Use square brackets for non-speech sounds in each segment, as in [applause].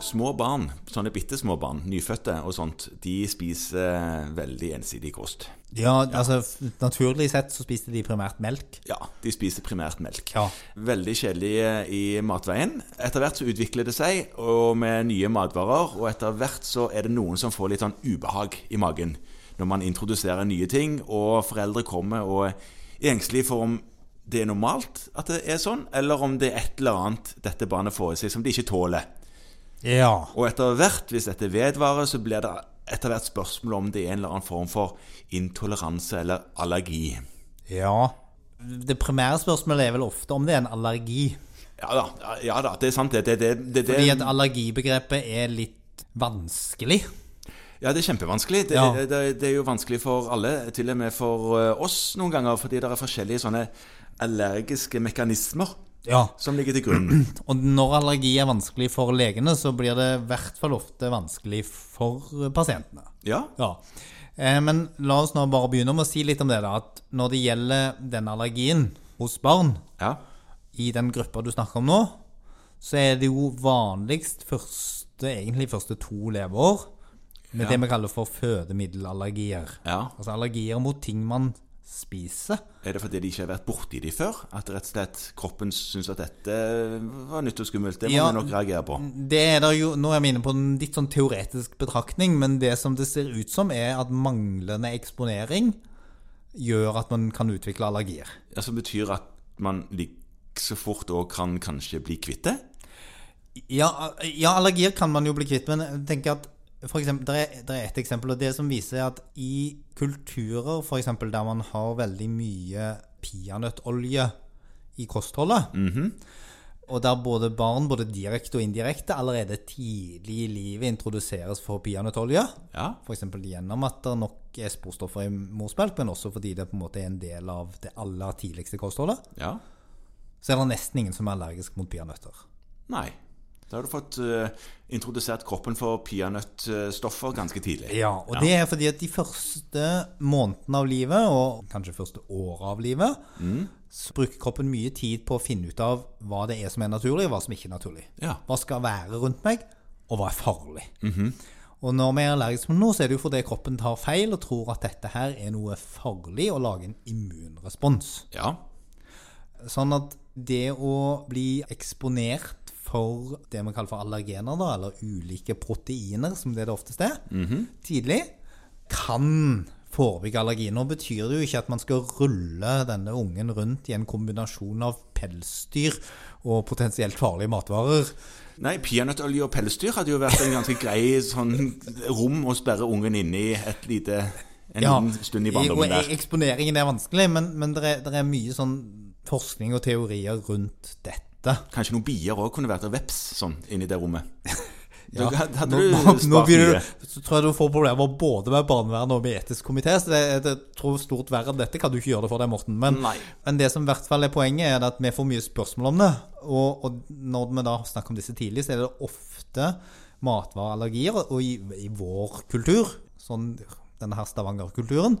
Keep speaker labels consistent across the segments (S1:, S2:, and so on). S1: små barn, sånne bitte små barn, nyfødte og sånt, de spiser eh, veldig ensidig kost.
S2: Ja, altså f- naturlig sett så spiste de primært melk.
S1: Ja, de spiser primært melk.
S2: Ja.
S1: Veldig kjedelige i matveien. Etter hvert så utvikler det seg, og med nye matvarer, og etter hvert så er det noen som får litt sånn ubehag i magen når man introduserer nye ting, og foreldre kommer og er engstelige for om det er normalt at det er sånn, eller om det er et eller annet dette barnet får i seg som de ikke tåler.
S2: Ja.
S1: Og etter hvert, hvis dette vedvarer, så blir det etter hvert spørsmål om det er en eller annen form for intoleranse eller allergi.
S2: ja. Det primære spørsmålet er vel ofte om det er en allergi.
S1: Ja da, ja da det er sant det. det, det, det, det
S2: Fordi at allergibegrepet er litt vanskelig.
S1: Ja, det er kjempevanskelig. Det,
S2: Ja.
S1: det, det er jo vanskelig for alle, til og med for eh, oss noen ganger, fordi det er forskjellige sånne allergiske mekanismer
S2: Ja.
S1: som ligger til grunn.
S2: [clears throat] Og når allergi er vanskelig for legene, så blir det i hvert fall ofte vanskelig for pasientene.
S1: Ja,
S2: Ja. Eh, Men la oss nå bare begynne med å si litt om det. da, at Når det gjelder den allergien hos barn,
S1: ja,
S2: i den gruppa du snakker om nå, så er det jo vanligst første, egentlig første to leveår med
S1: Ja.
S2: det vi kaller for fødemiddelallergier.
S1: ja.
S2: Altså allergier mot ting man spiser.
S1: Er det fordi de ikke har vært borti de før? At rett og slett kroppen syns at dette var nytt og skummelt? Det må
S2: Ja.
S1: vi nok reagere på.
S2: Det er der jo, Nå er vi inne på en litt sånn teoretisk betraktning, men det som det ser ut som, er at manglende eksponering gjør at man kan utvikle allergier.
S1: Ja, Som betyr at man så fort òg kan kanskje bli kvitt det?
S2: Ja, eh, ja, allergier kan man jo bli kvitt, men jeg tenker at for eksempel, det, er, det er et eksempel, og det som viser at i kulturer for eksempel, der man har veldig mye peanøttolje i kostholdet, og der både barn, både direkte og indirekte, allerede tidlig i livet introduseres for peanøttolje,
S1: Ja.
S2: f.eks. gjennom at det nok er sporstoffer i morsmelk, men også fordi det på en måte er en del av det aller tidligste kostholdet,
S1: ja.
S2: så er det nesten ingen som er allergisk mot peanøtter.
S1: Nei. Da har du fått eh, introdusert kroppen for peanøttstoffer ganske tidlig.
S2: Ja, og det er fordi at de første månedene av livet, og kanskje første året av livet, så bruker kroppen mye tid på å finne ut av hva det er som er naturlig, og hva som ikke er naturlig.
S1: Ja.
S2: Hva skal være rundt meg, og hva er farlig. Og når vi er allergiske mot noe, så er det jo fordi kroppen tar feil og tror at dette her er noe farlig, og lager en immunrespons.
S1: Ja.
S2: Sånn at det å bli eksponert for det vi kaller for allergener, da, eller ulike proteiner, som det det oftest er,
S1: Mhm.
S2: tidlig, kan forebygge allergi. Nå betyr det jo ikke at man skal rulle denne ungen rundt i en kombinasjon av pelsdyr og potensielt farlige matvarer.
S1: Nei, peanøttolje og pelsdyr hadde jo vært en ganske grei sånn rom å sperre ungen inne i et lite, en liten stund i barndommen
S2: og
S1: der.
S2: Eksponeringen er vanskelig, men, men det, er, det er mye sånn forskning og teorier rundt dette.
S1: Kanskje noen bier òg kunne vært og veps sånn inni det rommet. Da hadde
S2: Nå,
S1: du
S2: nå, nå
S1: spart
S2: begynner
S1: mye.
S2: du, så tror jeg du får problemer både med barnevernet og med etisk komité. Så det, det tror jeg stort verre enn dette kan du ikke gjøre det for deg, Morten. Men,
S1: Nei.
S2: men det som i hvert fall er poenget, er at vi får mye spørsmål om det. Og, og når vi da snakker om disse tidlig, så er det ofte matvareallergier. Og i, i vår kultur, sånn denne her Stavanger-kulturen,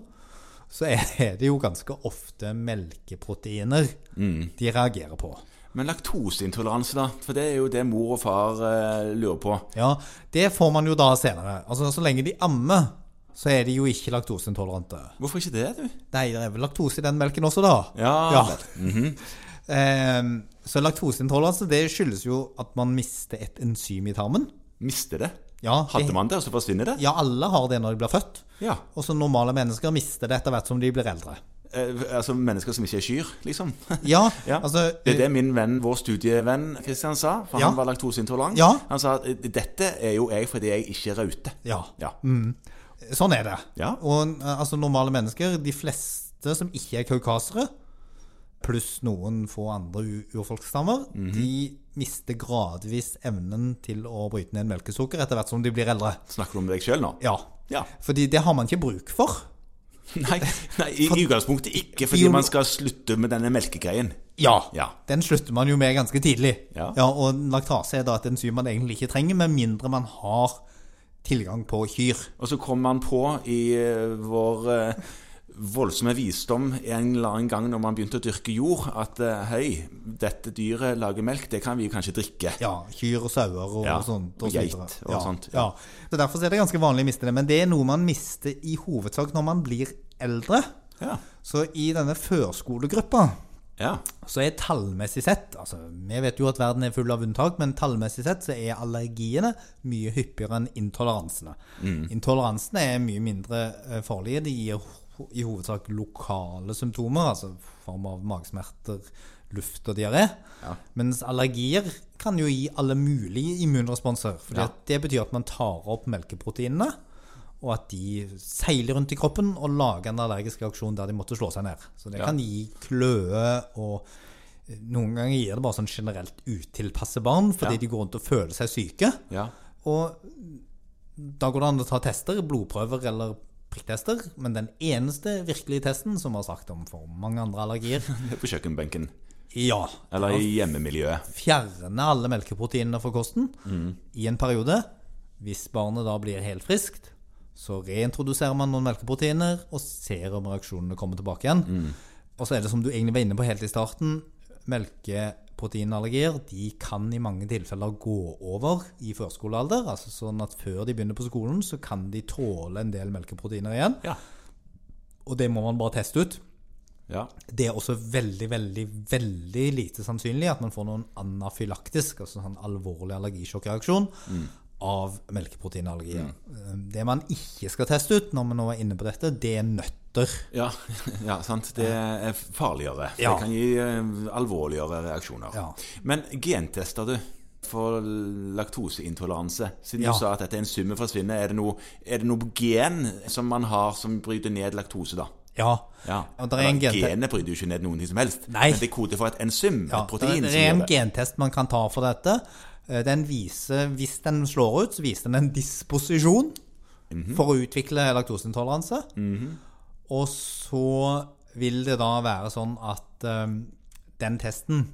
S2: så er det jo ganske ofte melkeproteiner
S1: Mm.
S2: de reagerer på.
S1: Men laktoseintoleranse, da? For det er jo det mor og far eh, lurer på.
S2: Ja, det får man jo da senere. Altså, Så lenge de ammer, så er de jo ikke laktoseintolerante.
S1: Hvorfor ikke det, du?
S2: Nei, det er vel laktose i den melken også, da.
S1: Ja, Mhm.
S2: [laughs] Ehm, så laktoseintoleranse det skyldes jo at man mister et enzym i tarmen.
S1: Miste det?
S2: Ja, det-
S1: Hadde man det, og så forsvinner det?
S2: Ja, alle har det når de blir født.
S1: Ja.
S2: Og så normale mennesker mister det etter hvert som de blir eldre.
S1: Eh, altså mennesker som ikke er kyr, liksom. [laughs]
S2: Ja,
S1: Ja.
S2: altså
S1: det er det min venn, vår studievenn Kristian sa, for
S2: Ja.
S1: han var laktoseintolerant.
S2: Ja.
S1: Han sa at dette er jo jeg fordi jeg ikke er raute.
S2: Ja.
S1: Ja.
S2: Sånn er det.
S1: Ja.
S2: Og eh, altså, normale mennesker, de fleste som ikke er kaukasere, pluss noen få andre u- urfolksstammer,
S1: Mhm.
S2: de mister gradvis evnen til å bryte ned melkesukker etter hvert som de blir eldre.
S1: Snakker du om deg sjøl nå?
S2: Ja.
S1: Ja. [laughs]
S2: Fordi det har man ikke bruk for.
S1: Nei, nei i i utgangspunktet ikke fordi
S2: Biolo-
S1: man skal slutte med denne melkegreien.
S2: Ja.
S1: Ja.
S2: Den slutter man jo med ganske tidlig.
S1: Ja.
S2: og laktase er da et enzym man egentlig ikke trenger, med mindre man har tilgang på kyr.
S1: Og så kommer man på i eh, vår eh, voldsomme visdom en eller annen gang når man begynte å dyrke jord, at eh, hei, dette dyret lager melk, det kan vi kanskje drikke.
S2: Ja, kyr og sauer og,
S1: Ja,
S2: og sånt.
S1: og
S2: så
S1: geit
S2: videre.
S1: og
S2: ja,
S1: sånt,
S2: Ja. Så Derfor er det ganske vanlig å miste det. Men det er noe man mister i hovedsak når man blir eldre.
S1: Ja.
S2: Så i denne førskolegruppa
S1: ja.
S2: så er tallmessig sett altså Vi vet jo at verden er full av unntak, men tallmessig sett så er allergiene mye hyppigere enn intoleransene.
S1: Mm.
S2: Intoleransene er mye mindre eh, farlige. De gir ho- i hovedsak lokale symptomer, altså i form av magesmerter, luft og diaré. Mens allergier kan jo gi alle mulige immunresponser. Fordi
S1: Ja.
S2: at det betyr at man tar opp melkeproteinene. Og at de seiler rundt i kroppen og lager en allergisk reaksjon der de måtte slå seg ned. Så det
S1: Ja.
S2: kan gi kløe og Noen ganger gir det bare sånn generelt utilpasse barn fordi
S1: Ja.
S2: de går rundt og føler seg syke.
S1: ja.
S2: Og da går det an å ta tester, blodprøver eller prikktester. Men den eneste virkelige testen, som vi har sagt om for mange andre
S1: [laughs]
S2: allergier,
S1: På
S2: [laughs]
S1: kjøkkenbenken.
S2: ja,
S1: Eller i hjemmemiljøet.
S2: fjerne alle melkeproteinene fra kosten i en periode. Hvis barnet da blir helt friskt, så reintroduserer man noen melkeproteiner og ser om reaksjonene kommer tilbake igjen. Og så er det som du egentlig var inne på helt i starten, melkeproteinallergier de kan i mange tilfeller gå over i førskolealder. altså Sånn at før de begynner på skolen, så kan de tåle en del melkeproteiner igjen.
S1: Ja.
S2: Og det må man bare teste ut
S1: ja.
S2: det er også veldig, veldig, veldig lite sannsynlig at man får noen anafylaktisk, altså sånn alvorlig allergisjokkreaksjon av melkeproteinallergier. Det man ikke skal teste ut når man nå er inne på dette, det er nøtter.
S1: Ja, [laughs] ja, sant. Det er farligere.
S2: Ja.
S1: Det kan gi eh, alvorligere reaksjoner.
S2: Ja.
S1: Men gentester du for laktoseintoleranse? Siden
S2: Ja.
S1: du sa at dette er en sum som forsvinner, er det, noe, er det noe gen som man har som bryter ned laktose, da?
S2: Ja.
S1: Ja.
S2: Og der er en
S1: Eller,
S2: gente-
S1: Genet bryter jo ikke ned noen ting som helst.
S2: Nei.
S1: Men det er kode for et enzym,
S2: Ja,
S1: et protein,
S2: det
S1: som
S2: er en
S1: gjør det.
S2: gentest man kan ta for dette. Eh, Den viser, hvis den slår ut, så viser den en disposisjon
S1: Mhm.
S2: for å utvikle laktoseintoleranse. Og så vil det da være sånn at eh, den testen,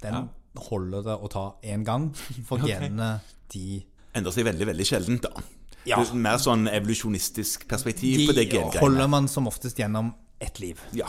S2: den holder det å ta én
S1: [laughs]
S2: gang for genene de
S1: Endrer seg veldig, veldig sjeldent, da.
S2: Ja.
S1: Det er mer sånn evolusjonistisk perspektiv på det
S2: De
S1: gengreiene.
S2: holder man som oftest gjennom ett liv.
S1: Ja.